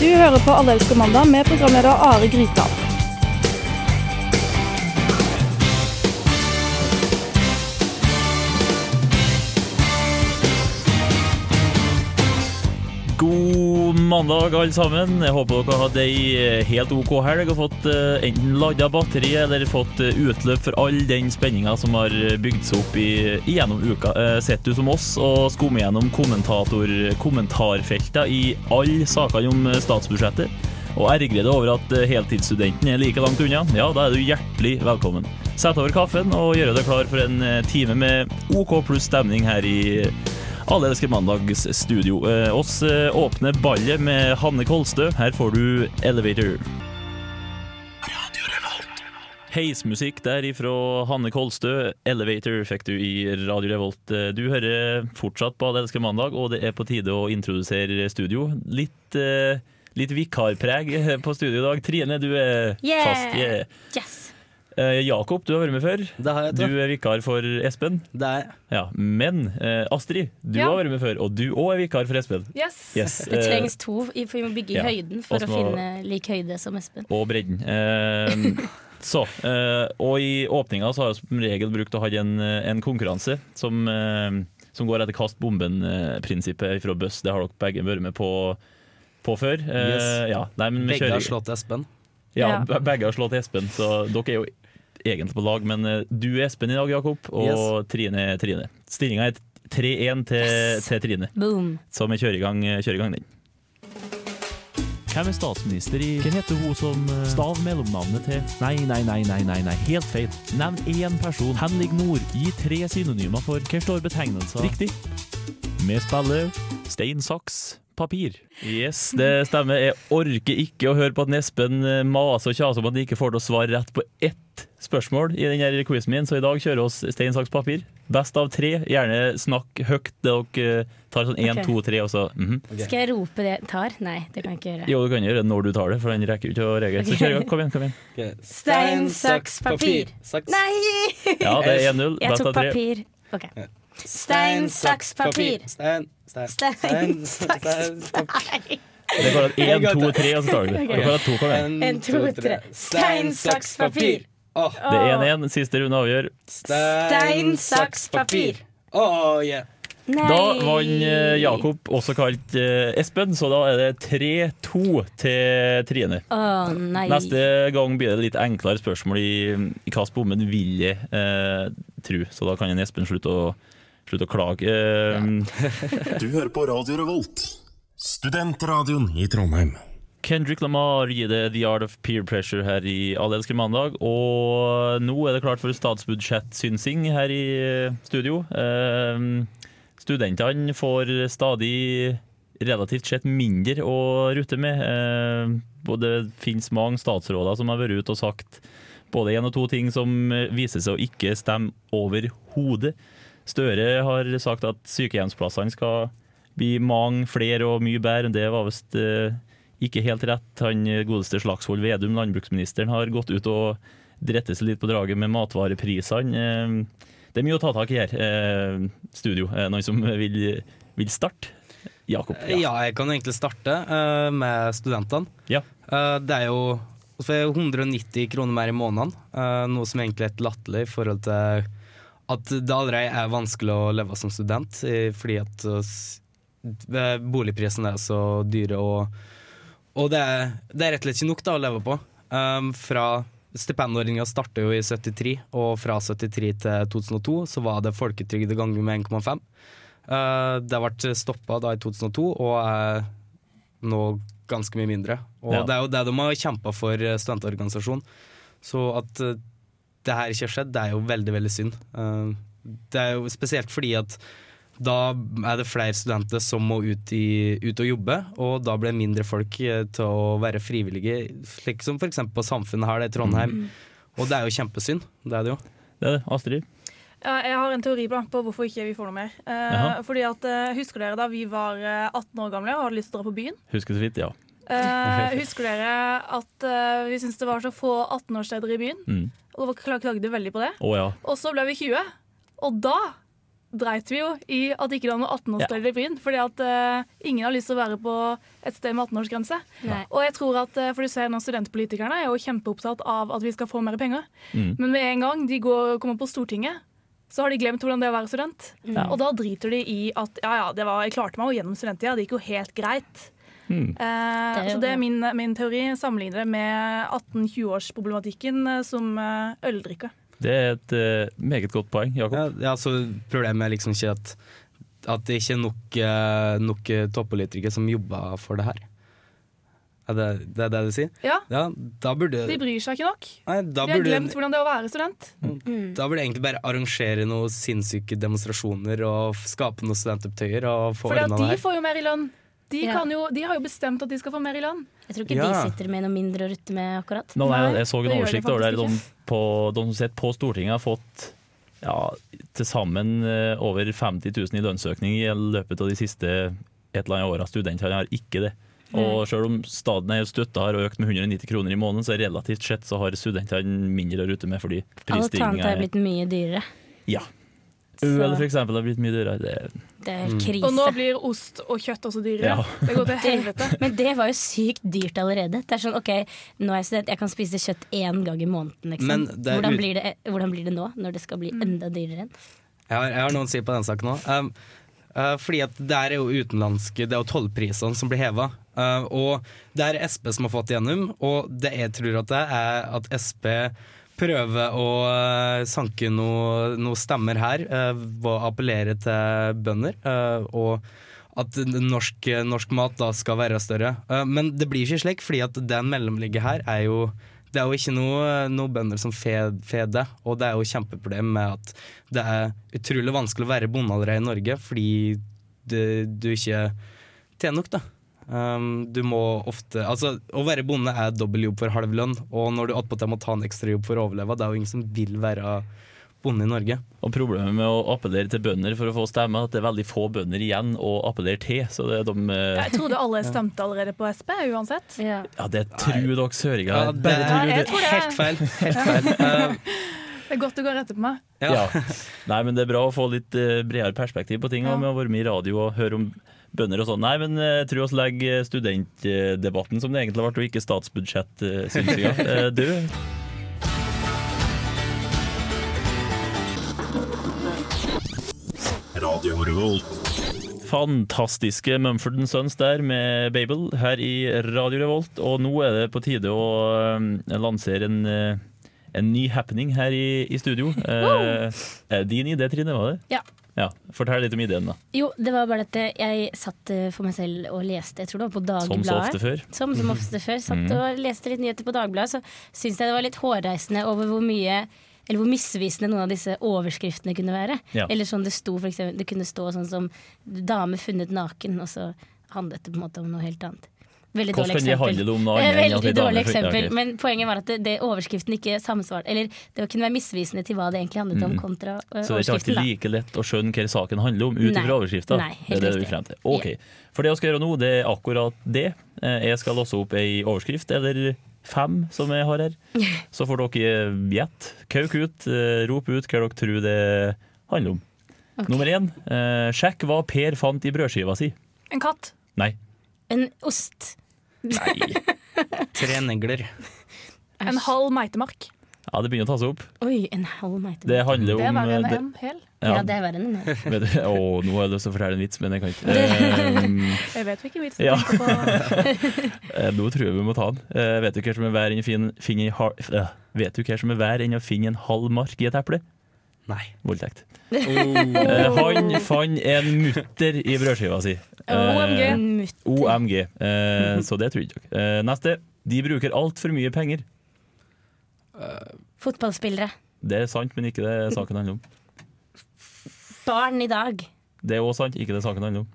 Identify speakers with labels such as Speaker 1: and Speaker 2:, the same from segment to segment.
Speaker 1: Du hører på Alle elsker mandag med programleder Are Grytdal.
Speaker 2: God mandag, alle sammen. Jeg håper dere har hatt ei eh, helt OK helg og fått eh, enten lada batteriet eller fått eh, utløp for all den spenninga som har eh, bygd seg opp i, gjennom uka. Eh, Sitter du som oss og skummer gjennom kommentator- kommentarfelta i alle sakene om eh, statsbudsjettet, og ergrer deg over at eh, heltidsstudenten er like langt unna, ja, da er du hjertelig velkommen. Sett over kaffen og gjør deg klar for en eh, time med OK pluss stemning her i alle elsker mandags studio. Eh, oss eh, åpner ballet med Hanne Kolstø. Her får du Elevator. Heismusikk der ifra Hanne Kolstø. Elevator fikk du i Radio Revolt. Eh, Du hører fortsatt på Alle elsker mandag, og det er på tide å introdusere studio. Litt, eh, litt vikarpreg eh, på studio i dag. Trine, du er
Speaker 3: Yeah.
Speaker 2: fast. Yeah.
Speaker 3: Yes.
Speaker 2: Eh, Jakob, du har vært med før.
Speaker 4: Det har jeg,
Speaker 2: Du
Speaker 4: tror jeg.
Speaker 2: er vikar for Espen.
Speaker 4: Det er jeg.
Speaker 2: Ja, men eh, Astrid, du
Speaker 3: Ja.
Speaker 2: har vært med før, og du òg er vikar for Espen. Yes,
Speaker 3: Det
Speaker 2: eh,
Speaker 3: trengs to, i- for vi må bygge i
Speaker 2: ja.
Speaker 3: høyden for
Speaker 2: Også
Speaker 3: å
Speaker 2: må-
Speaker 3: finne lik høyde som Espen.
Speaker 2: og bredden. Eh, så, eh, og i åpninga så har jeg som regel brukt å ha en, eh, en konkurranse som, eh, som går etter kast bomben-prinsippet fra Bøss. Det har dere begge vært med på, på før. Eh,
Speaker 4: Yes.
Speaker 2: ja. Nei, men vi
Speaker 4: Begge
Speaker 2: kjører-
Speaker 4: har slått Espen.
Speaker 2: Ja,
Speaker 3: Ja.
Speaker 2: be- begge har slått Espen, så dere er jo egentlig på lag. Men eh, du er Espen i dag, Jakob, og
Speaker 4: Yes.
Speaker 2: Trine er Trine. Stillinga er 3-1 til,
Speaker 3: Yes.
Speaker 2: til Trine.
Speaker 3: Boom.
Speaker 2: Så vi kjører i gang, kjører i gang den. Hvem er statsminister i Hvem heter hun som eh, stav mellomnavnet til Nei, nei, nei, nei, nei, nei, helt feil. Nevn én person. Henrik Nord. Gi tre synonymer for Hva står betegnelser? Riktig. Vi spiller stein, saks, papir. Yes, det stemmer. Jeg orker ikke å høre på at Espen maser og kjaser om at han ikke får til å svare rett på ett spørsmål i denne quizen min, så i dag kjører vi stein, saks, papir. Best av tre. Gjerne snakk høyt. Det dere tar sånn én,
Speaker 3: Ok.
Speaker 2: to, tre, og så mhm.
Speaker 3: Skal jeg rope det jeg tar? Nei, det kan jeg ikke gjøre.
Speaker 2: Jo, du kan gjøre det når du tar det, for den rekker jo ikke å reagere. Så kjør i gang. Kom igjen, kom igjen.
Speaker 4: Ok.
Speaker 3: Stein, saks, papir.
Speaker 4: Saks.
Speaker 3: Nei!
Speaker 2: Ja, det er 1-0.
Speaker 3: Jeg
Speaker 2: Best
Speaker 3: tok
Speaker 2: av tre.
Speaker 3: papir. Ok. Stein, saks, papir.
Speaker 4: Stein, stein,
Speaker 3: Stein,
Speaker 4: stein,
Speaker 3: saks,
Speaker 4: stein, papir.
Speaker 2: Det går at én,
Speaker 4: Jeg går
Speaker 2: to,
Speaker 4: til-
Speaker 2: tre, og så tar du det.
Speaker 3: Ok.
Speaker 2: Det går at to, kom igjen.
Speaker 3: En, to, tre. Stein, saks, papir.
Speaker 4: Åh,
Speaker 2: Det er 1-1. Siste runde avgjør.
Speaker 3: Stein, saks, papir.
Speaker 4: Åh, yeah.
Speaker 3: Nei.
Speaker 2: Da vant eh, Jakob, også kalt eh, Espen, så da er det 3-2 til Trine.
Speaker 3: Å nei.
Speaker 2: Neste gang blir det litt enklere spørsmål i, i hva bommen vil jeg eh, tro, så da kan en Espen slutte å, slutte å klage. Eh,
Speaker 5: Du hører på Radio Revolt, studentradioen i Trondheim.
Speaker 2: Kendrick Lamar gir det The Art of Peer Pressure her i Alle elsker mandag. Og nå er det klart for statsbudsjettsynsing her i eh, studio. Ehm, studentene får stadig relativt sett mindre å rutte med. Ehm, og det finnes mange statsråder som har vært ute og sagt både én og to ting som eh, viser seg å ikke stemme overhodet. Støre har sagt at sykehjemsplassene skal bli mange flere og mye bedre. Det var visst eh, ikke helt rett. Han eh, godeste Slagsvold Vedum, landbruksministeren, har gått ut og drette seg litt på draget med matvareprisene. Eh, Det er mye å ta tak i her. eh, Studio, Eh, noen som vil, vil starte? Jakob. Ja.
Speaker 4: Eh, Ja, jeg kan egentlig starte eh, med studentene.
Speaker 2: ja.
Speaker 4: Eh, det er jo altså, så er det 190 kroner mer i måneden, eh, noe som egentlig er helt latterlig i forhold til at det allerede er vanskelig å leve som student, eh, fordi at eh, s- eh, boligprisene er så dyre, og, og det, er, det er rett og slett ikke nok da, å leve på. Um, fra Stipendordninga starta jo i 73, og fra 73 til 2002 så var det folketrygd ganger med 1,5. Eh, det ble stoppa da i 2002, og er nå ganske mye mindre. Og
Speaker 2: Ja.
Speaker 4: det er jo det de har kjempa for, eh, studentorganisasjonen. Så at eh, det her ikke har skjedd, det er jo veldig, veldig synd. Eh, det er jo spesielt fordi at da er det flere studenter som må ut, i, ut og jobbe, og da blir det mindre folk eh, til å være frivillige, slik som f.eks. på Samfunnet her det i Trondheim.
Speaker 6: Mm.
Speaker 4: Og det er jo kjempesynd. Det er det jo.
Speaker 2: Det er det. Astrid?
Speaker 6: Ja, jeg har en teori da, på hvorfor ikke vi får noe mer. Eh,
Speaker 2: Jaha.
Speaker 6: fordi at, eh, Husker dere da vi var eh, 18 år gamle og hadde lyst til å dra på byen?
Speaker 2: Husker så vidt, ja.
Speaker 6: Eh, husker dere at eh, vi syntes det var så få 18-årssteder i byen?
Speaker 2: Mm.
Speaker 6: Og det var klagde veldig på det.
Speaker 2: Å ja.
Speaker 6: Og så ble vi 20, og da dreit vi jo i at det ikke var noe 18-årsstøvel i Bryn. Fordi at eh, ingen har lyst til å være på et sted med 18-årsgrense.
Speaker 3: Nei.
Speaker 6: Og jeg tror at, eh, for du ser nå Studentpolitikerne er jo kjempeopptatt av at vi skal få mer penger.
Speaker 2: Mm.
Speaker 6: Men med en gang de går, kommer på Stortinget, så har de glemt hvordan det er å være student.
Speaker 3: Mm.
Speaker 6: Og da driter de i at ja, ja, det var, jeg klarte meg jo gjennom studenttida, det gikk jo helt greit.
Speaker 2: Mm.
Speaker 6: Eh,
Speaker 3: Det er jo-
Speaker 6: så det er min, min teori. Sammenligner det med 18-20-årsproblematikken eh, som eh, øldrikke.
Speaker 2: Det er et eh, meget godt poeng, Jakob.
Speaker 4: Ja, ja, så Problemet er liksom ikke at, at det ikke er nok, eh, nok eh, toppolitikere som jobber for det her. Er det det, er det du sier?
Speaker 6: Ja,
Speaker 4: Ja, da burde
Speaker 6: de bryr seg ikke nok.
Speaker 4: Nei, da
Speaker 6: De har
Speaker 4: burde,
Speaker 6: glemt hvordan det er å være student.
Speaker 4: da burde jeg egentlig bare arrangere noen sinnssyke demonstrasjoner og f- skape noen studentopptøyer og få
Speaker 6: For
Speaker 4: ordna det
Speaker 6: de
Speaker 4: her.
Speaker 6: får jo mer i lønn. De,
Speaker 3: Ja.
Speaker 6: kan jo, de har jo bestemt at de skal få mer i lønn.
Speaker 3: Jeg tror ikke
Speaker 4: Ja.
Speaker 3: de sitter med noe mindre å rutte med akkurat.
Speaker 2: Nå, nei,
Speaker 6: Nei,
Speaker 2: jeg så
Speaker 6: det
Speaker 2: en
Speaker 6: gjør
Speaker 2: oversikt
Speaker 6: de
Speaker 2: over der
Speaker 6: faktisk
Speaker 2: de, på, de som sitter på Stortinget har fått ja, til sammen eh, over 50 000 i lønnsøkning i løpet av de siste et eller annet åra. Studentene har ikke det. Og selv om staten er støtta har økt med 190 kroner i måneden, så relativt sett så har studentene mindre å rutte med fordi
Speaker 3: Alt annet
Speaker 2: prisstigninga
Speaker 3: har blitt mye dyrere.
Speaker 2: Ja.
Speaker 3: Så
Speaker 2: Øl for eksempel har blitt mye dyrere. Det er
Speaker 3: det
Speaker 2: Mm.
Speaker 3: er helt
Speaker 6: Og nå
Speaker 3: krise.
Speaker 6: blir ost og kjøtt også dyrere.
Speaker 2: Ja.
Speaker 6: Det går til helvete.
Speaker 3: Men det var jo sykt dyrt allerede. Det er sånn, ok, nå er jeg student, jeg kan spise kjøtt én gang i måneden. Liksom.
Speaker 4: Men det er
Speaker 3: hvordan,
Speaker 4: ut-
Speaker 3: blir det, hvordan blir det nå, når det skal bli enda dyrere? igjen?
Speaker 4: Jeg har, jeg har noen å si på den saken òg. Um, uh, fordi at der er jo utenlandske Det er jo tollprisene som blir heva. Uh, og det er SP som har fått igjennom, og det jeg tror at det er at SP prøver å uh, sanke noe, noe stemmer her uh, ved å appellere til bønder. Uh, og at norsk, norsk mat da skal være større. Uh, men det blir ikke slik, fordi at den mellomligget her er jo det er jo ikke noe, noe bønder som fed, fed det, og det er jo kjempeproblem med at det er utrolig vanskelig å være bonde allerede i Norge, fordi det, du ikke tjener nok, da. Um, du må ofte Altså, å være bonde er dobbel jobb for halv lønn, og når du attpåtil må ta en ekstra jobb for å overleve, det er jo ingen som vil være bonde i Norge.
Speaker 2: Og Problemet med å appellere til bønder for å få stemme, er at det er veldig få bønder igjen å appellere til. Så det er de eh,
Speaker 6: Jeg trodde alle stemte allerede på SP uansett.
Speaker 2: Ja, det tror dere søringer.
Speaker 4: Ja, det
Speaker 2: Bare tror
Speaker 6: Nei, jeg
Speaker 2: dere-
Speaker 6: tror det.
Speaker 4: Helt feil. Helt feil. Um,
Speaker 6: Det er godt du går etter på meg.
Speaker 4: ja.
Speaker 2: Ja. Nei, men det er bra å få litt eh, bredere perspektiv på ting.
Speaker 6: Ja.
Speaker 2: Og med å være med i radio og høre om bønder og sånn. Nei, men eh, jeg tror vi legger studentdebatten, som det egentlig ble, og ikke eh, statsbudsjettsynsninga, død.
Speaker 5: Radio Revolt.
Speaker 2: Fantastiske Mumford Sons der med Babel her i Radio Revolt. Og nå er det på tide å eh, lansere en, eh, en ny happening her i, i studio. Eh, er det din idé, Trine? Var det?
Speaker 3: Ja.
Speaker 2: Ja, Fortell litt om ideen, da.
Speaker 3: Jo, det var bare at eh, jeg satt eh, for meg selv og leste, jeg tror det var på Dagbladet.
Speaker 2: Som så ofte før. Mm.
Speaker 3: Som som ofte før. Satt og leste litt nyheter på Dagbladet, så syntes jeg det var litt hårreisende over hvor mye eller hvor misvisende noen av disse overskriftene kunne være.
Speaker 2: Ja.
Speaker 3: Eller sånn det sto, for eksempel, det kunne stå sånn som 'dame funnet naken', og så handlet det på en måte om noe helt annet. Veldig
Speaker 2: Hvordan kan
Speaker 3: dårlig
Speaker 2: de
Speaker 3: eksempel.
Speaker 2: handle om noe
Speaker 3: Eh,
Speaker 2: annet enn at
Speaker 3: Veldig
Speaker 2: det er dame
Speaker 3: dårlig
Speaker 2: funnet
Speaker 3: eksempel,
Speaker 2: naken?
Speaker 3: men poenget var at det, det overskriften ikke samsvarte Eller det kunne være misvisende til hva det egentlig handlet om, kontra eh,
Speaker 2: Mm. Så det er ikke alltid
Speaker 3: overskriften. da.
Speaker 2: like lett å skjønne hva saken handler om ut
Speaker 3: Nei.
Speaker 2: ifra overskrifta.
Speaker 3: Nei,
Speaker 2: Det
Speaker 3: helt
Speaker 2: er det vi
Speaker 3: riktig.
Speaker 2: frem til. Ok, For det jeg skal gjøre nå, det er akkurat det. Eh, Jeg skal låse opp ei overskrift, eller fem, som jeg har her. Så får dere eh, gjette. Kauk ut, eh, rop ut hva dere tror det handler om.
Speaker 3: Ok.
Speaker 2: Nummer én, eh, sjekk hva Per fant i brødskiva si.
Speaker 6: En katt.
Speaker 2: Nei.
Speaker 3: En ost.
Speaker 4: Tre negler.
Speaker 6: En halv meitemark.
Speaker 2: Ja, det begynner å ta seg opp.
Speaker 3: Oi, en halv meite.
Speaker 2: Det handler om
Speaker 6: Det er verre enn
Speaker 2: eh, det-
Speaker 6: en hel.
Speaker 3: Ja, det er verre enn en hel.
Speaker 2: Vet du- Å, nå har jeg lyst til å fortelle en vits, men jeg kan ikke. Um,
Speaker 6: Jeg vet hvilken vits du
Speaker 2: Ja.
Speaker 6: tenker på.
Speaker 2: Eh, Nå tror jeg vi må ta den. Eh, vet du hva som er verre enn å finne, finne, en hal- eh, vet du hva som er verre enn å finne en halv mark i et eple?
Speaker 4: Nei.
Speaker 2: Voldtekt. Eh, han fant en mutter i brødskiva si. Eh,
Speaker 3: En mutt.
Speaker 2: OMG. Eh, så det trodde dere. Eh, neste. De bruker altfor mye penger.
Speaker 3: Fotballspillere.
Speaker 2: Det er sant, men ikke det saken handler om.
Speaker 3: Barn i dag.
Speaker 2: Det er òg sant, ikke det saken handler om.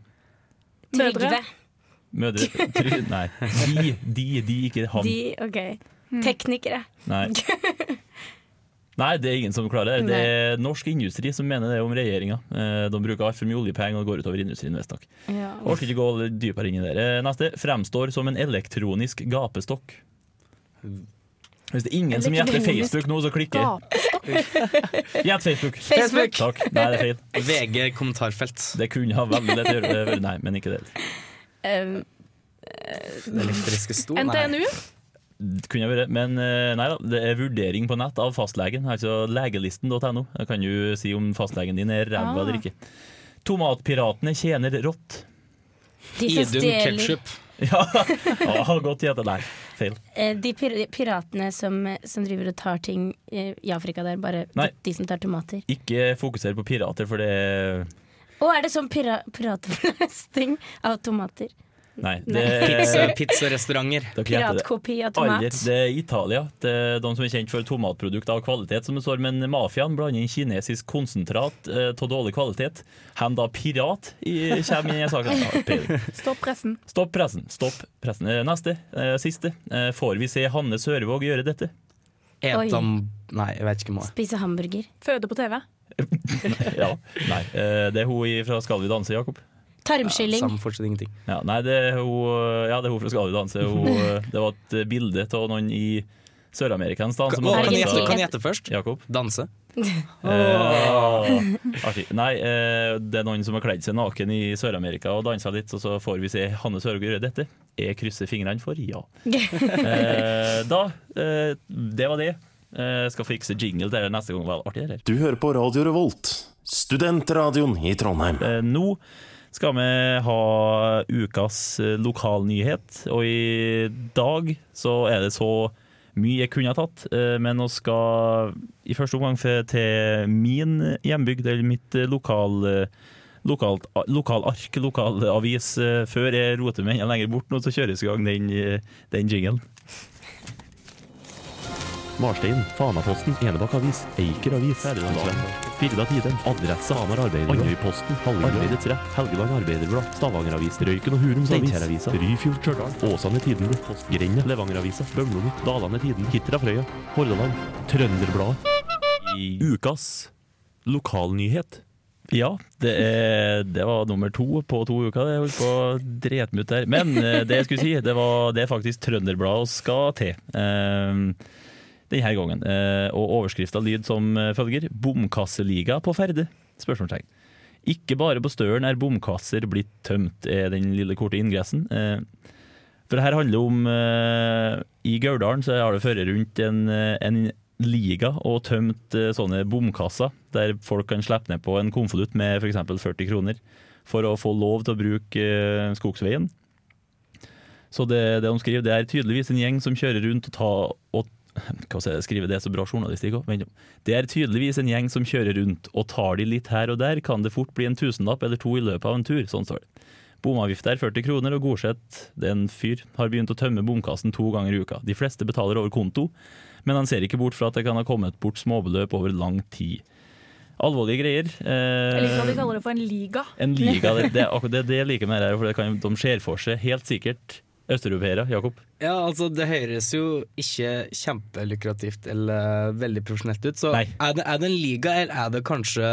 Speaker 3: Trygve.
Speaker 6: Mødre.
Speaker 2: Mødre try, Nei. De, de, de, ikke han.
Speaker 3: De, ok. Teknikere.
Speaker 2: Nei. Nei, det er ingen som klarer det. Det er norsk industri som mener det om regjeringa. Eh, De bruker altfor mye oljepenger og det går utover industrien, visstnok. Orker ikke gå litt dypere inn i det. Eh, Neste. Fremstår som en elektronisk gapestokk. Hvis det er ingen som gjetter
Speaker 6: Elektronisk
Speaker 2: Facebook nå, så klikker jeg.
Speaker 6: Gapestokk.
Speaker 2: Gjett Facebook.
Speaker 3: Facebook.
Speaker 2: Takk. Nei, det er feil.
Speaker 4: VG kommentarfelt.
Speaker 2: Det kunne ha veldig lett å gjøre. Nei, men ikke det.
Speaker 3: Um,
Speaker 4: Det elektriske sto.
Speaker 6: NTNU.
Speaker 2: Det kunne jeg vært, men eh, nei da, det er vurdering på nett av fastlegen. Altså legelisten.no. Der kan du si om fastlegen din er ræva
Speaker 6: Ah.
Speaker 2: eller ikke. Tomatpiratene tjener rått.
Speaker 3: de som
Speaker 4: Idun
Speaker 3: stjeler-
Speaker 4: ketchup.
Speaker 2: Ja, ah, godt gjetta. Nei, feil.
Speaker 3: Eh, De pir de piratene som, eh, som driver og tar ting eh, i Afrika der, bare
Speaker 2: Nei.
Speaker 3: de som tar tomater.
Speaker 2: Ikke fokuser på pirater, for det er
Speaker 3: Og er det sånn pira piratbelastning av tomater?
Speaker 2: Nei. Det
Speaker 4: Pizza,
Speaker 2: er
Speaker 4: pizzarestauranter.
Speaker 2: Dere gjetter det.
Speaker 3: Piratkopi av
Speaker 2: Aller,
Speaker 3: tomat?
Speaker 2: det er Italia. Det er de som er kjent for tomatprodukter av kvalitet, som det står. Men mafiaen blander inn kinesisk konsentrat eh, av dårlig kvalitet. Hvem da pirat i, kommer inn i saken? Ja, peiling.
Speaker 6: Stopp pressen.
Speaker 2: Stopp pressen. Stopp pressen. Eh, Neste. eh, Siste. Eh, Får vi se Hanne Sørvåg gjøre dette?
Speaker 3: Oi.
Speaker 4: Etam... Nei, jeg vet ikke hva.
Speaker 3: Spise hamburger.
Speaker 6: Føde på TV.
Speaker 2: Ja. Nei. eh, Det er hun i- fra Skal vi danse, Jakob.
Speaker 3: Tarmskylling.
Speaker 4: Samme fortsatt ingenting.
Speaker 2: Ja, nei, det er hun, eh, ja, det er hun fra Skal vi danse. Hun, eh, det var et bilde av noen i Sør-Amerika en sted
Speaker 4: Kan,
Speaker 2: som
Speaker 4: å,
Speaker 2: hadde
Speaker 4: Altså, kan,
Speaker 3: Herregud.
Speaker 4: jeg gjette,
Speaker 2: dansa-
Speaker 4: kan jeg gjette først?
Speaker 2: Jakob?
Speaker 4: Danse.
Speaker 2: Eh, artig. Nei, eh, det er noen som har kledd seg naken i Sør-Amerika og dansa litt, og så får vi se Hanne Sørgaard gjøre dette. Jeg krysser fingrene for ja. Eh, da, eh, det var det. Eh, skal fikse jingle til det neste gang. Var det artig, eller?
Speaker 5: Du hører på Radio Revolt, studentradioen i Trondheim.
Speaker 2: Eh, nå skal vi ha ukas eh, lokalnyhet, og i dag så er det så mye jeg kunne ha tatt, eh, men vi skal i første omgang fe- til min hjembygd, eller mitt eh, lokal, eh, lokalt, a- lokalark, lokalavis. eh, Før jeg roter meg enda lenger bort nå, så kjøres i gang den, eh, den jingelen.
Speaker 7: Marstein, Fanaposten, Enebakk Avis, Eiker Avis, Firda Tiden, Adresse Hamar Arbeiderblad, Andøyposten, Arbeidets Rett, Helgeland Arbeiderblad, Stavanger Avis, Røyken og Hurums Avis, Steinkjer-avisa, Ryfjord Stjørdal, Åsane Tidenblad, Grenda, Levanger Avisa, Bømlo Nytt, Dalane Tiden, Hitra Frøya, Hordaland, Trønderbladet. Ukas lokalnyhet.
Speaker 2: Ja, det, er, det var nummer to på to uker. Det Jeg holdt på å drete meg ut der. Men eh, det jeg skulle si, det, var, det er faktisk Trønderbladet vi skal til. Eh, denne gangen. Eh, og overskrifta lyd som eh, følger. 'Bomkasseliga på ferde?' Spørsmålstegn. Ikke bare på Støren er bomkasser blitt tømt, er den lille korte ingressen. Eh, for det her handler om eh, I Gauldalen så har det ført rundt en, eh, en liga og tømt eh, sånne bomkasser, der folk kan slippe ned på en konvolutt med f.eks. 40 kroner for å få lov til å bruke eh, skogsveien. Så det, det de skriver, det er tydeligvis en gjeng som kjører rundt og tar og hva skal jeg skrive det er så bra journalistikk også, vent om. Det er tydeligvis en gjeng som kjører rundt, og tar de litt her og der, kan det fort bli en tusenlapp eller to i løpet av en tur. Sånn står det. Bomavgift er 40 kroner, og Gorseth, det er en fyr, har begynt å tømme bomkassen to ganger i uka. De fleste betaler over konto, men han ser ikke bort fra at det kan ha kommet bort småbeløp over lang tid. Alvorlige greier.
Speaker 6: Jeg liker at de
Speaker 2: Eh,
Speaker 6: kaller det for en liga.
Speaker 2: en liga, det, det, er akkurat det, det jeg liker med det her, for det kan, de ser for seg helt sikkert østeuropeere, Jakob.
Speaker 4: Ja, altså Det høres jo ikke kjempelukrativt eller veldig profesjonelt ut. Så
Speaker 2: Nei.
Speaker 4: er det, er det en liga, eller er det kanskje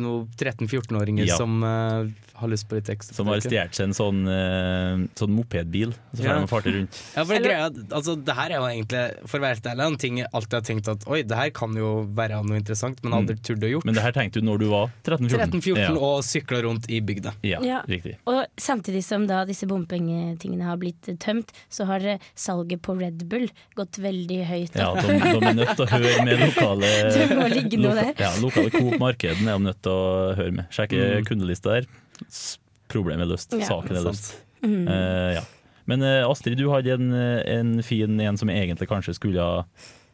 Speaker 4: noen 13-14-åringer
Speaker 2: Ja.
Speaker 4: som eh, har lyst på litt ekstra?
Speaker 2: Som har
Speaker 4: styrke?
Speaker 2: stjålet seg en sånn, eh, sånn mopedbil, og så får
Speaker 4: Ja.
Speaker 2: de farte rundt.
Speaker 4: Ja, for det,
Speaker 6: Eller-
Speaker 4: greia, er at- altså, det her er jo egentlig, for å være helt ærlig, en ting jeg alltid har tenkt at oi, det her kan jo være noe interessant, men aldri turde å gjort.
Speaker 2: Men det her tenkte du når du var 13-14?
Speaker 4: 13-14
Speaker 2: Mm. ja.
Speaker 4: og sykla rundt i bygda.
Speaker 2: Ja,
Speaker 3: Ja.
Speaker 2: riktig.
Speaker 3: Og samtidig som da disse bompengetingene har blitt tømt, så har eh, salget på Red Bull gått veldig høyt.
Speaker 2: Ja, de, de er nødt til å høre med lokale
Speaker 3: Det må ligge noe der.
Speaker 2: Ja, lokale Coop-markeden er de nødt til å høre med.
Speaker 4: Mm.
Speaker 2: Sjekke kundelista der. S- Problemet er løst.
Speaker 3: Ja.
Speaker 2: Saken er løst.
Speaker 4: Sant?
Speaker 3: Mm.
Speaker 2: Eh, ja. Men eh, Astrid, du hadde en, en fin en som egentlig kanskje skulle ha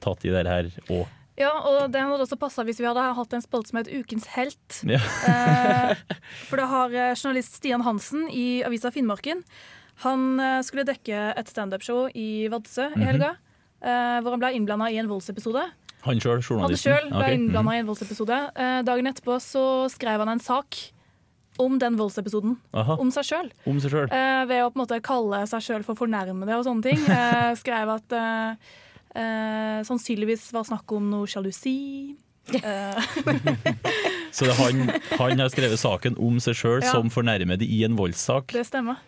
Speaker 2: tatt i det her òg.
Speaker 6: Ja, og det hadde også passa hvis vi hadde hatt en spalte som het Ukens helt.
Speaker 2: Ja.
Speaker 6: Eh, for det har eh, journalist Stian Hansen i avisa Finnmarken. Han eh, skulle dekke et standup-show i Vadsø
Speaker 2: Mhm.
Speaker 6: i helga. eh, Hvor han ble innblanda i en voldsepisode.
Speaker 2: Han sjøl,
Speaker 6: Han
Speaker 2: journalisten.
Speaker 6: sjøl ble
Speaker 2: Ok, mhm.
Speaker 6: innblanda i en voldsepisode. Eh, Dagen etterpå så skrev han en sak om den voldsepisoden.
Speaker 2: Mhm. Aha,
Speaker 6: Om seg sjøl.
Speaker 2: om seg sjøl.
Speaker 6: Eh, ved å på en måte kalle seg sjøl for fornærmede og sånne ting. Eh, skrev at eh, eh, sannsynligvis var snakk om noe sjalusi. Eh,
Speaker 2: Så det er han, han har skrevet saken om seg sjøl
Speaker 6: Ja.
Speaker 2: som fornærmede i en voldssak.
Speaker 6: det stemmer.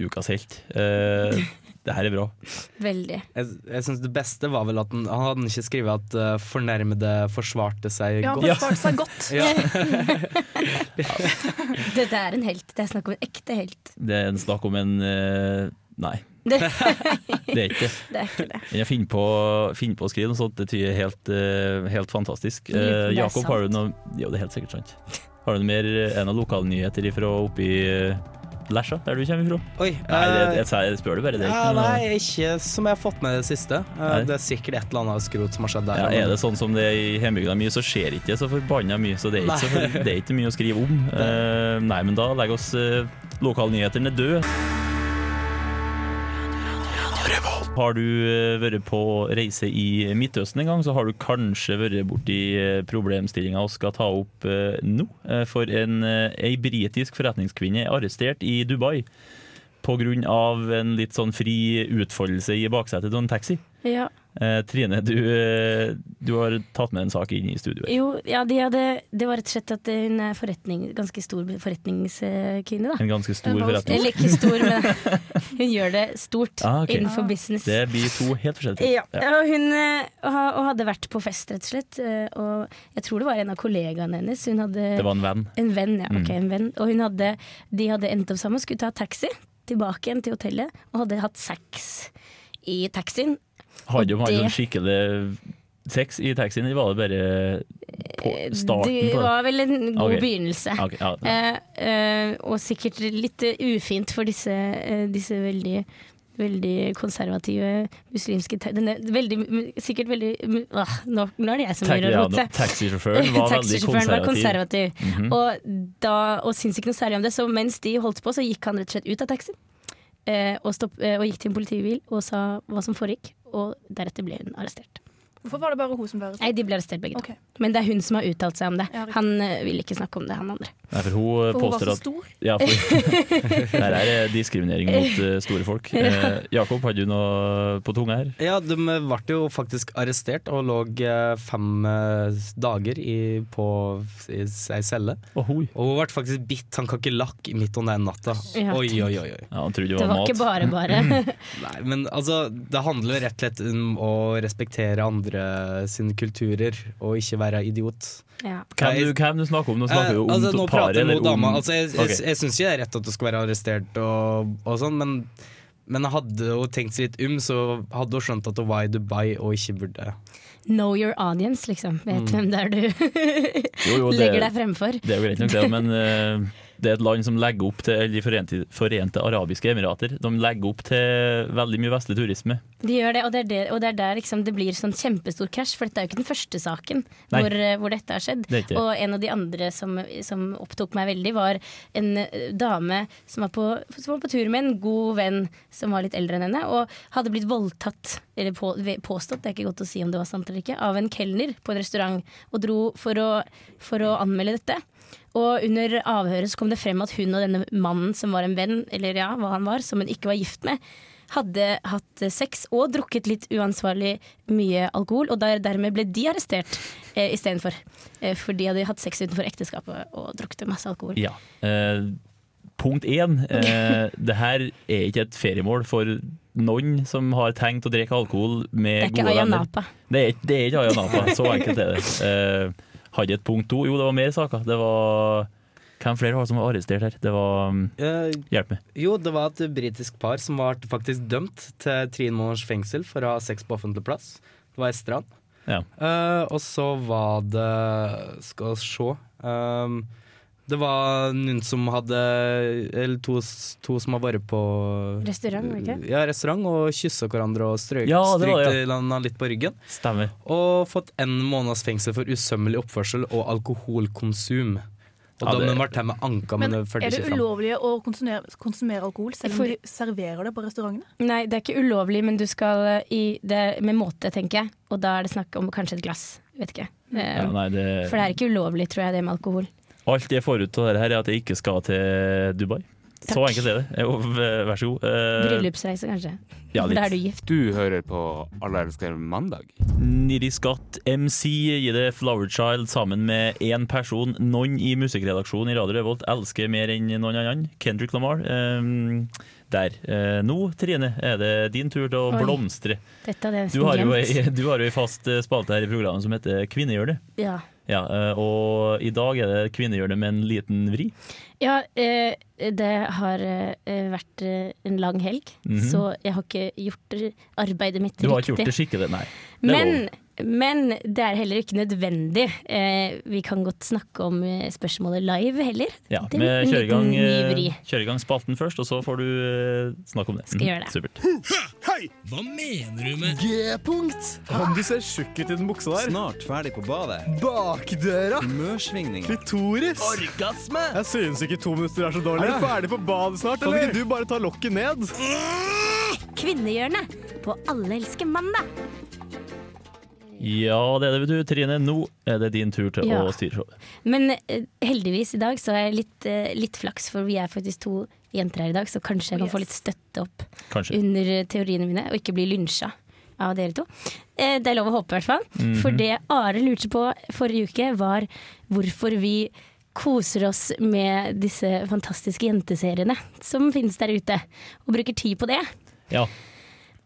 Speaker 2: Ukas helt. Eh, Det her er bra.
Speaker 3: Veldig.
Speaker 4: Jeg, jeg synes Det beste var vel at han, han hadde ikke skrevet at eh, fornærmede forsvarte seg
Speaker 6: Ja, han
Speaker 4: godt.
Speaker 6: forsvarte seg godt.
Speaker 3: Dette er en helt. Det er snakk om en ekte helt.
Speaker 2: Det er en snakk om en eh, Nei,
Speaker 3: Det,
Speaker 2: det er ikke det.
Speaker 3: det er ikke det.
Speaker 2: Jeg finner på, finner på å skrive noe sånt. Det tror jeg er helt, eh, helt fantastisk. Eh,
Speaker 3: Jeg lurer på om det er
Speaker 2: Jakob, har du
Speaker 3: sant.
Speaker 2: noe Ja, det er helt sikkert sant. Har du noe mer eh, en av lokalnyheter ifra oppi eh, Lesja, der du kommer ifra?
Speaker 4: Oi,
Speaker 2: Nei, jeg,
Speaker 4: eh,
Speaker 2: jeg, sier- jeg spør det bare. Det er
Speaker 4: ja,
Speaker 2: ikke noe
Speaker 4: nei, ikke som jeg har fått med det siste. Eh,
Speaker 2: Nei.
Speaker 4: det er sikkert et eller annet skrot som har skjedd der.
Speaker 2: ja, Er det sånn som det er i hjembygda mi, så skjer ikke så forbanna mye. Så det er ikke, så for, det er ikke mye å skrive om. Eh, nei, men da legger oss eh, lokalnyhetene død. Har du eh, vært på reise i Midtøsten en gang, så har du kanskje vært borti eh, problemstillinga vi skal ta opp eh, nå. Eh, For en, eh, ei britisk forretningskvinne er arrestert i Dubai pga. en litt sånn fri utfoldelse i baksetet av en taxi.
Speaker 3: Ja.
Speaker 2: Eh, Trine, du, eh, du har tatt med en sak inn i studioet.
Speaker 3: Jo, ja, de hadde, det var rett og slett at hun er forretning, ganske stor forretningskvinne, da.
Speaker 2: En ganske stor
Speaker 6: En vold-
Speaker 2: forretning.
Speaker 3: Eller ikke stor, men hun gjør det stort
Speaker 2: Ah, ok.
Speaker 3: innenfor business.
Speaker 2: Det blir to helt forskjellige
Speaker 3: Ja,
Speaker 2: ting. Ja.
Speaker 3: Og hun eh, ha- og hadde vært på fest, rett og slett. eh, Og jeg tror det var en av kollegaene hennes. Hun hadde
Speaker 2: Det var en venn.
Speaker 3: en venn, ja. ok,
Speaker 2: Mm.
Speaker 3: en venn. Og hun hadde, de hadde endt opp sammen, skulle ta taxi tilbake igjen til hotellet, og hadde hatt sex i taxien.
Speaker 2: Hadde de hatt
Speaker 3: det-
Speaker 2: sånn skikkelig sex i taxien, eller var det bare på starten
Speaker 3: Eh, det
Speaker 2: på det?
Speaker 3: var vel en god
Speaker 2: Ok.
Speaker 3: begynnelse.
Speaker 2: Ok, ja.
Speaker 3: Eh, eh, og sikkert litt eh, ufint for disse, eh, disse veldig Veldig konservative muslimske ta- denne, veldig, mu- Sikkert veldig mu- ah, nå, nå er det jeg som
Speaker 2: Ta- ja,
Speaker 3: gjør å rote.
Speaker 2: nå- Taxisjåføren var veldig
Speaker 3: Taxisjåføren var
Speaker 2: konservativ. Mhm.
Speaker 3: konservativ.
Speaker 2: Mm.
Speaker 3: Og da, og syntes ikke noe særlig om det, så mens de holdt på, så gikk han rett og slett ut av taxien. eh, Og, stopp, eh, og gikk til en politibil og sa hva som foregikk, og deretter ble hun arrestert.
Speaker 6: Hvorfor var det bare hun som ble arrestert?
Speaker 3: Nei, de ble arrestert begge
Speaker 6: Ok.
Speaker 3: to. Men det er hun som har uttalt seg om det.
Speaker 6: Ja, riktig.
Speaker 3: Han eh, vil ikke snakke om det, han andre.
Speaker 2: Nei, for hun
Speaker 6: For hun
Speaker 2: eh,
Speaker 6: var
Speaker 2: påstår
Speaker 6: så
Speaker 2: at
Speaker 6: stor.
Speaker 2: ja, for, Der er det diskriminering mot eh, store folk. Eh, Jakob, hadde du noe på tunga her?
Speaker 4: Ja, de ble jo faktisk arrestert og lå eh, fem eh, dager i, på ei celle.
Speaker 2: Ohoi.
Speaker 4: Og hun ble faktisk bitt av en kakerlakk midt om den natta.
Speaker 3: Ja,
Speaker 4: Oi,
Speaker 3: tenk.
Speaker 4: oi, oi. oi.
Speaker 2: Ja, han trodde det
Speaker 3: Det
Speaker 2: var,
Speaker 3: var ikke
Speaker 2: mat.
Speaker 3: bare bare.
Speaker 4: Nei, men altså, det handler jo rett og slett om å respektere andre sine kulturer, og ikke være idiot.
Speaker 3: ja.
Speaker 2: Hvem du, hvem du snakker om? Nå snakker vi jo om
Speaker 4: Eh, altså, nå
Speaker 2: paret.
Speaker 4: prater jeg
Speaker 2: eller
Speaker 4: mot
Speaker 2: om-
Speaker 4: dama. Altså, jeg jeg,
Speaker 2: Ok.
Speaker 4: jeg syns ikke det er rett at du skal være arrestert og, og sånn, men, men hadde hun tenkt seg litt um, så hadde hun skjønt at hun var i Dubai og ikke burde
Speaker 3: Know your audience, liksom. Vet hvem det er du
Speaker 2: Jo, jo, Mm. det-
Speaker 3: legger deg fremfor.
Speaker 2: Det er jo greit nok det, men eh, det er et land som legger opp til eller De forente, forente arabiske emirater. De legger opp til veldig mye vestlig turisme.
Speaker 3: De gjør det, og det er, det, og det, er der liksom, det blir sånn kjempestor krasj, for dette er jo ikke den første saken
Speaker 2: Nei.
Speaker 3: hvor, eh, hvor dette har skjedd.
Speaker 2: Det er ikke.
Speaker 3: Og en av de andre som, som opptok meg veldig, var en eh, dame som var, på, som var på tur med en god venn som var litt eldre enn henne, og hadde blitt voldtatt, eller på, ve- påstått, det er ikke godt å si om det var sant eller ikke, av en kelner på en restaurant, og dro for å, for å anmelde dette. Og under avhøret så kom det frem at hun og denne mannen som var en venn, eller ja, hva han var, som hun ikke var gift med, hadde hatt sex og drukket litt uansvarlig mye alkohol, og der, dermed ble de arrestert eh, istedenfor. Eh, for de hadde hatt sex utenfor ekteskapet og drukket masse alkohol.
Speaker 2: Ja. Eh, punkt én. eh, det her er ikke et feriemål for noen som har tenkt å drikke alkohol
Speaker 3: det er
Speaker 2: med
Speaker 3: ikke
Speaker 2: gode venner.
Speaker 3: Ayanapa.
Speaker 2: Det er, ikke- det er ikke Ayia Napa. Så enkelt er det. Eh, hadde et punkt to. Jo, det var mer saker. Det var Hvem flere var det som var arrestert her? Det var mm,
Speaker 4: Eh,
Speaker 2: Hjelp meg.
Speaker 4: Jo, det var et britisk par som var faktisk dømt til tre måneders fengsel for å ha sex på offentlig plass. Det var i strand.
Speaker 2: Ja.
Speaker 4: Eh, og så var det Skal vi se. ehm, det var noen som hadde Eller to, s- to som har vært på
Speaker 3: Restaurant, var det ikke?
Speaker 4: Ja, restaurant og kyssa hverandre og strøk,
Speaker 2: Ja, det var det, ja.
Speaker 4: strykte hverandre litt på ryggen.
Speaker 2: Stemmer.
Speaker 4: Og fått en måneds fengsel for usømmelig oppførsel og alkoholkonsum. Og
Speaker 2: Ja,
Speaker 4: da
Speaker 2: det-
Speaker 4: ble Marte med anka, men,
Speaker 6: Men
Speaker 4: det følte
Speaker 6: er det
Speaker 4: ikke fram.
Speaker 6: ulovlig å konsumere, konsumere alkohol selv om
Speaker 3: For-
Speaker 6: de serverer det på restaurantene?
Speaker 3: Nei, det er ikke ulovlig, men du skal eh, i det med måte, tenker jeg. Og da er det snakk om kanskje et glass. Vet ikke. Eh,
Speaker 2: Ja, nei, det,
Speaker 3: for det er ikke ulovlig, tror jeg, det med alkohol.
Speaker 2: Alt jeg får ut av dette her er at jeg ikke skal til Dubai. Så
Speaker 3: Takk.
Speaker 2: enkelt er det. Jo, v- Vær så god. Eh,
Speaker 3: Bryllupsreise, kanskje.
Speaker 2: ja,
Speaker 3: for da er du
Speaker 2: litt.
Speaker 3: gift.
Speaker 8: Du hører på Alle elsker mandag.
Speaker 2: Niri Skatt MC gir det Flower Child sammen med én person. Noen i musikkredaksjonen i Radio Revolt elsker mer enn noen annen. Kendrick Lamar. Eh, der. Eh, nå, Trine, er det din tur til å
Speaker 3: Oi.
Speaker 2: blomstre.
Speaker 3: Dette hadde jeg
Speaker 2: Du
Speaker 3: nesten
Speaker 2: har, jo
Speaker 3: glemt.
Speaker 2: ei, du har jo ei fast eh, spalte her i programmet som heter Kvinnehjørnet.
Speaker 3: Ja.
Speaker 2: Ja, eh, og i dag er det Kvinnehjørnet med en liten vri.
Speaker 3: ja eh, det har eh, vært eh, en lang helg, så jeg har ikke gjort eh, arbeidet mitt
Speaker 2: Mhm. Du har ikke
Speaker 3: riktig.
Speaker 2: gjort det skikkelig, nei. Det er
Speaker 3: Men, men det er heller ikke nødvendig. Eh, vi kan godt snakke om eh, spørsmålet live heller.
Speaker 2: Ja,
Speaker 3: Det er
Speaker 2: vi
Speaker 3: en
Speaker 2: kjører i gang,
Speaker 3: liten ny
Speaker 2: eh,
Speaker 3: vri.
Speaker 2: kjører i gang spalten først, og så får du eh, snakke om det.
Speaker 3: Skal gjøre det.
Speaker 2: Supert.
Speaker 9: Om du ser tjukkert i den buksa der
Speaker 10: Snart ferdig på badet.
Speaker 9: Bakdøra
Speaker 10: Humørsvingninger.
Speaker 9: Klitoris Jeg synes ikke to minutter er så dårlig Er du ferdig på badet snart, eller? Kan ikke du bare ta lokket ned?
Speaker 3: Kvinnehjørnet på Alle elsker mandag.
Speaker 2: Ja, det er det, vet du. Trine, nå er det din tur til
Speaker 3: Ja.
Speaker 2: å styre showet.
Speaker 3: Men eh, heldigvis i dag så har jeg litt, eh, litt flaks, for vi er faktisk to jenter her i dag, så kanskje jeg kan få litt støtte opp
Speaker 2: Kanskje.
Speaker 3: under teoriene mine, og ikke bli lynsja av dere to. Eh, Det er lov å håpe, i hvert fall. For det Are lurte på forrige uke, var hvorfor vi koser oss med disse fantastiske jenteseriene som finnes der ute, og bruker tid på det.
Speaker 2: Ja.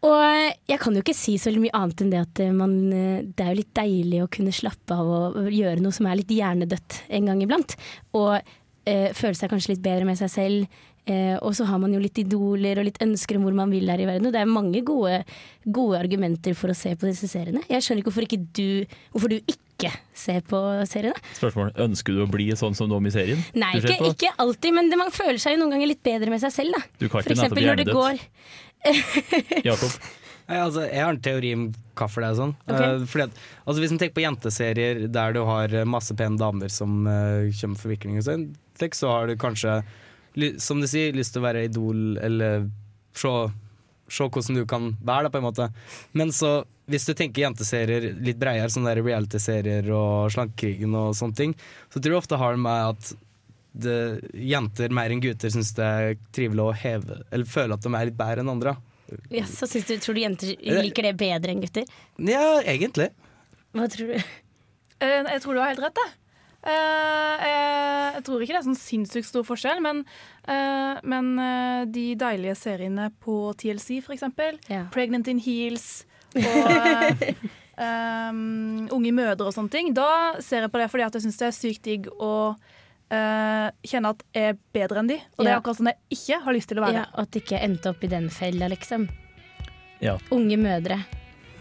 Speaker 3: Og jeg kan jo ikke si så veldig mye annet enn det at eh, man, eh, det er jo litt deilig å kunne slappe av og gjøre noe som er litt hjernedødt en gang iblant. Og eh, føle seg kanskje litt bedre med seg selv. Eh, og så har man jo litt idoler og litt ønsker om hvor man vil her i verden. Og det er mange gode, gode argumenter for å se på disse seriene. Jeg skjønner ikke hvorfor, ikke du, hvorfor du ikke ser på seriene.
Speaker 2: Spørsmål. Ønsker du å bli sånn som dem i serien?
Speaker 3: Nei,
Speaker 2: du ser
Speaker 3: ikke,
Speaker 2: på?
Speaker 3: ikke alltid, men det, man føler seg jo noen ganger litt bedre med seg selv, da.
Speaker 2: Du kan
Speaker 3: For
Speaker 2: ikke nettopp
Speaker 3: eksempel når det
Speaker 2: hjernedødt.
Speaker 3: går
Speaker 2: Jakob?
Speaker 4: Nei, altså, jeg har en teori om hvorfor det er sånn.
Speaker 3: Ok.
Speaker 4: Eh, fordi at, altså, hvis man tenker på jenteserier der du har eh, masse pene damer som eh, kommer med forviklinger, og sånn, tenk, så har du kanskje, ly- som du sier, lyst til å være idol eller se, se hvordan du kan være, da, på en måte. Men så, hvis du tenker jenteserier litt bredere, sånne der reality-serier og Slankekrigen og sånne ting, så tror jeg ofte har det med at det, jenter mer enn gutter syns det er trivelig å heve, eller føle at de er litt bedre enn andre. da.
Speaker 3: Ja, så synes du, tror du jenter
Speaker 2: Eh,
Speaker 3: liker det bedre enn gutter?
Speaker 4: Ja, egentlig.
Speaker 3: Hva tror du?
Speaker 6: Eh, Jeg tror du har helt rett, jeg. Eh, eh, jeg tror ikke det er sånn sinnssykt stor forskjell, men, eh, men eh, de deilige seriene på TLC, for eksempel.
Speaker 3: Ja.
Speaker 6: Pregnant in Heels og eh, em, Unge mødre og sånne ting. Da ser jeg på det fordi at jeg syns det er sykt digg å eh, kjenne at jeg er bedre enn de. Og det er
Speaker 3: Ja.
Speaker 6: akkurat sånn jeg ikke har lyst til å være.
Speaker 3: Ja, at det ikke endte opp i den fella, liksom.
Speaker 2: Ja.
Speaker 3: Unge mødre.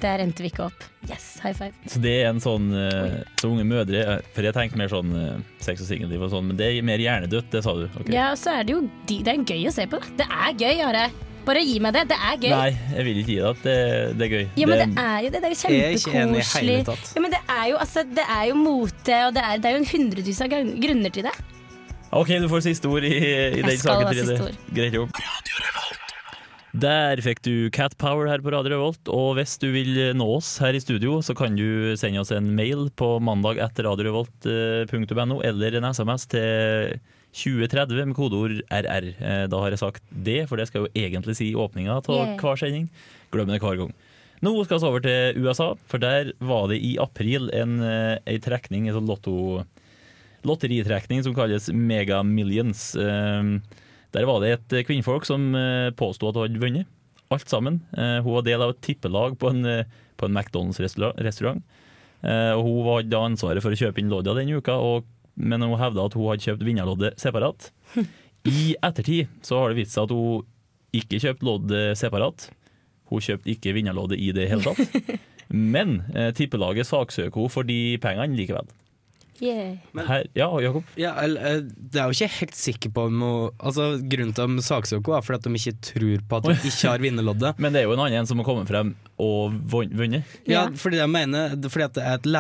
Speaker 3: Der endte vi ikke opp. Yes, high five.
Speaker 2: Så det er en sånn eh, Så unge mødre eh, For jeg tenkte mer sånn eh, sex og singelliv og sånn, men det er mer hjernedødt, det sa du. ok.
Speaker 3: Ja, og så er det jo de- Det er gøy å se på. da. Det er gøy, Are. Bare gi meg det. Det er gøy.
Speaker 2: Nei, jeg vil ikke gi deg at det, det er gøy.
Speaker 3: Ja, men det er jo det. Det er jo
Speaker 4: Jeg er ikke enig i hele
Speaker 3: kjempekoselig.
Speaker 4: tatt.
Speaker 3: Ja, men det er jo, altså, det er jo mote, og det er, det er jo en hundrevis av grunn- grunner til det.
Speaker 2: OK, du får siste ord i, i den
Speaker 3: skal
Speaker 2: saken.
Speaker 3: ha
Speaker 2: Trine.
Speaker 3: siste ord.
Speaker 2: Greit jobb. Der fikk du Cat Power her på Radio Revolt, og hvis du vil nå oss her i studio, så kan du sende oss en mail på mandag etter eh, radiorevolt.no, eller en SMS til 2030 med kodeord RR. Eh, Da har jeg sagt det, for det skal jo egentlig si i åpninga av
Speaker 3: Yeah.
Speaker 2: hver sending. Glem det hver gang. Nå skal vi over til USA, for der var det i april en, eh, ei trekning, en sånn lotto lotteritrekning som kalles Mega Millions. Eh, Der var det et kvinnfolk som eh, påstod at hun hadde vunnet. Alt sammen. Eh, Hun var del av et tippelag på en, eh, på en McDonald's-restaurant. Eh, Og hun var da ansvaret for å kjøpe inn lodda den uka, og, men hun hevda at hun hadde kjøpt vinnerloddet separat. I ettertid så har det vist seg at hun ikke kjøpte loddet separat. Hun kjøpte ikke vinnerloddet i det hele tatt. Men eh, tippelaget saksøker henne for de pengene likevel.
Speaker 3: Yeah.
Speaker 2: Her, ja, Jakob?
Speaker 4: Ja, eller, eh, det er jo ikke helt sikker på om hun- altså, Grunnen til at de saksøker henne, er fordi at de ikke tror på at hun ikke har vinnerloddet.
Speaker 2: Men det er jo en annen en som har kommet frem og vun- vunnet.
Speaker 4: Ja,
Speaker 3: Ja.
Speaker 4: fordi jeg mener det er Fordi at det er et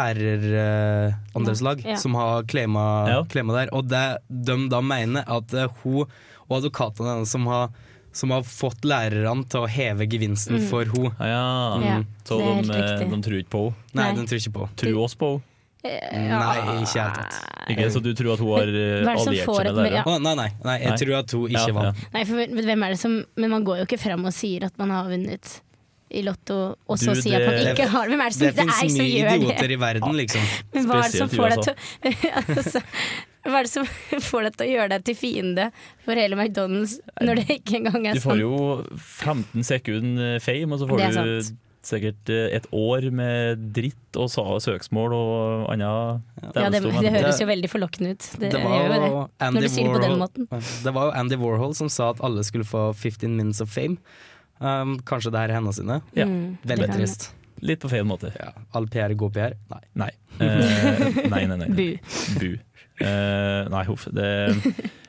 Speaker 4: lærerandelslag
Speaker 3: Ja.
Speaker 4: som har klema,
Speaker 2: Ja.
Speaker 4: klema der. Og det de da mener, at eh, hun og advokatene hennes som har som har fått lærerne til å heve gevinsten
Speaker 3: Mm.
Speaker 4: for henne.
Speaker 2: Ah, ja.
Speaker 3: Ja,
Speaker 2: Så
Speaker 3: det er
Speaker 2: de, eh,
Speaker 3: helt riktig.
Speaker 2: de tror ikke på henne.
Speaker 4: Nei,
Speaker 3: Nei.
Speaker 4: den tror ikke på.
Speaker 2: Tror oss på henne.
Speaker 3: Ah.
Speaker 4: Nei, ikke i det hele tatt.
Speaker 2: Ikke? Så du tror at hun har eh,
Speaker 3: Hva er det som
Speaker 2: alliert
Speaker 3: får
Speaker 2: seg
Speaker 3: et
Speaker 2: med
Speaker 3: mer-
Speaker 2: dere?
Speaker 3: ja.
Speaker 4: Å, nei, nei, nei, jeg
Speaker 2: Nei.
Speaker 4: tror at hun
Speaker 2: Ja,
Speaker 4: ikke
Speaker 2: ja.
Speaker 4: vant.
Speaker 3: Nei, for hvem er det som Men man går jo ikke fram og sier at man har vunnet i Lotto, og så
Speaker 2: Du,
Speaker 3: sier at man
Speaker 2: det-
Speaker 3: ikke har Hvem er det som
Speaker 4: Det
Speaker 3: det, er
Speaker 4: finnes
Speaker 3: som
Speaker 4: mye
Speaker 3: gjør det?
Speaker 4: idioter i verden, liksom.
Speaker 3: Men hva er det som
Speaker 2: Spesielt i
Speaker 3: får deg til å altså, Hva er det som får deg til å gjøre deg til fiende for hele McDonald's når det ikke engang er
Speaker 2: Du får
Speaker 3: sant?
Speaker 2: jo 15 sekunder fame, og så
Speaker 3: Det
Speaker 2: får
Speaker 3: er
Speaker 2: du
Speaker 3: sant.
Speaker 2: sikkert eh, et år med dritt og sa- søksmål og annet.
Speaker 3: Ja, det,
Speaker 2: dævelstorm.
Speaker 3: det høres jo veldig forlokkende ut. Det,
Speaker 4: Det var
Speaker 3: gjør jo det.
Speaker 4: jo Andy
Speaker 3: Når du sier det på den
Speaker 4: Warhol-
Speaker 3: måten.
Speaker 4: Det var jo Andy Warhol som sa at alle skulle få 15 minutes of fame. Um, kanskje det her er hennes sine.
Speaker 2: Ja.
Speaker 3: Mm, det
Speaker 4: Veldig
Speaker 3: kan
Speaker 4: trist.
Speaker 2: Litt på feil måte.
Speaker 4: All PR, god PR. Nei.
Speaker 2: Nei. Eh, nei, nei, nei.
Speaker 3: Bu.
Speaker 2: Bu. Eh, nei, huff. Det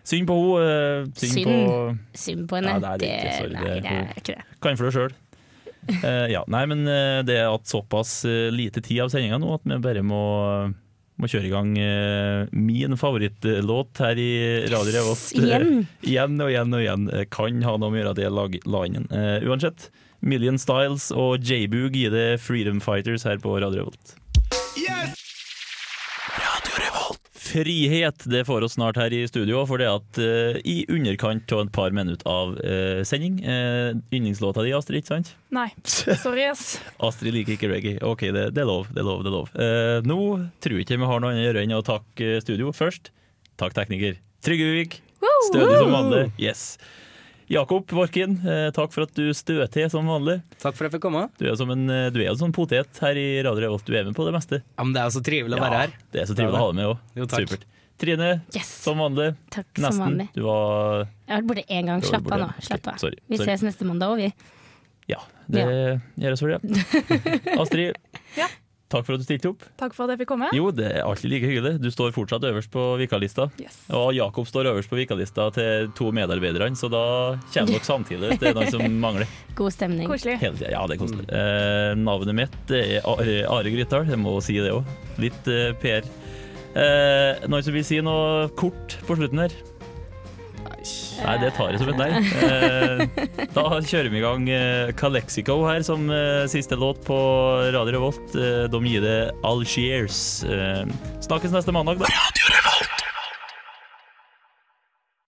Speaker 2: Syng på henne. syng,
Speaker 3: Synd.
Speaker 2: på
Speaker 3: Synd på henne.
Speaker 2: Ja, det er det ikke, sorry,
Speaker 3: nei,
Speaker 2: det er
Speaker 3: det
Speaker 2: hun-
Speaker 3: er ikke det.
Speaker 2: Kan for deg sjøl. ja. Nei, men eh, det er at såpass eh, lite tid av sendinga nå at vi bare må, må kjøre i gang eh, min favorittlåt her i Radio Revolt. Eh,
Speaker 3: igjen.
Speaker 2: igjen og igjen og igjen. Eh, Kan ha noe med å gjøre at jeg lag- la inn en. Eh, uansett, Million Styles og J-Boog gir det Freedom Fighters her på Radio Revolt. Frihet det får oss snart her i studio, for det at eh, i underkant av et par minutter av eh, sending eh, Yndlingslåta di, Astrid, ikke sant?
Speaker 6: Nei. Sorry, ass.
Speaker 2: Astrid liker ikke reggae. OK, det, det er lov. det er lov, det er lov. Eh, nå tror jeg ikke vi har noe annet å gjøre enn å takke eh, studio først. Takk, tekniker. Trygve Vik. Stødig som vanlig. Yes. Jakob Vorkin, eh, takk for at du støt til som vanlig.
Speaker 4: Takk for at jeg fikk komme.
Speaker 2: Du er som en, eh, du er jo som en potet her i Radio Revolt. Du er med på det meste.
Speaker 4: Ja, men det er jo så trivelig å være her.
Speaker 2: Det er så trivelig å ha deg med
Speaker 4: Jo,
Speaker 2: òg.
Speaker 4: takk.
Speaker 2: Supert. Trine,
Speaker 3: Yes.
Speaker 2: som vanlig.
Speaker 3: Takk som
Speaker 2: Nesten.
Speaker 3: vanlig.
Speaker 2: Du var
Speaker 3: Jeg har vært borte én gang.
Speaker 2: Du har vært
Speaker 3: Slapp av nå.
Speaker 2: borte én.
Speaker 3: Slapp
Speaker 2: Ok,
Speaker 3: av.
Speaker 2: sorry,
Speaker 3: Vi
Speaker 2: sorry.
Speaker 3: ses neste mandag òg, vi.
Speaker 2: Ja, det gjør jeg så det. Astrid,
Speaker 6: Ja.
Speaker 2: takk for at du stilte opp.
Speaker 6: Takk for at jeg fikk komme.
Speaker 2: Jo, det er alltid like hyggelig. Du står fortsatt øverst på vikarlista.
Speaker 6: Yes.
Speaker 2: Og Jakob står øverst på vikarlista til to medarbeidere, så da kommer dere samtidig. hvis Det er noen som mangler.
Speaker 3: God stemning.
Speaker 6: Koselig.
Speaker 2: Hele tiden. Ja, det er koselig. Eh, navnet mitt det er Are, Are Grytdal, jeg må si det òg. Litt eh, PR. Eh, noen som vil si noe kort på slutten her? Nei, det tar jeg som et nei. Eh, da kjører vi i gang eh, Calexico her som eh, siste låt på Radio Revolt. Eh, de gir det Algiers. Eh, snakkes neste mandag, da.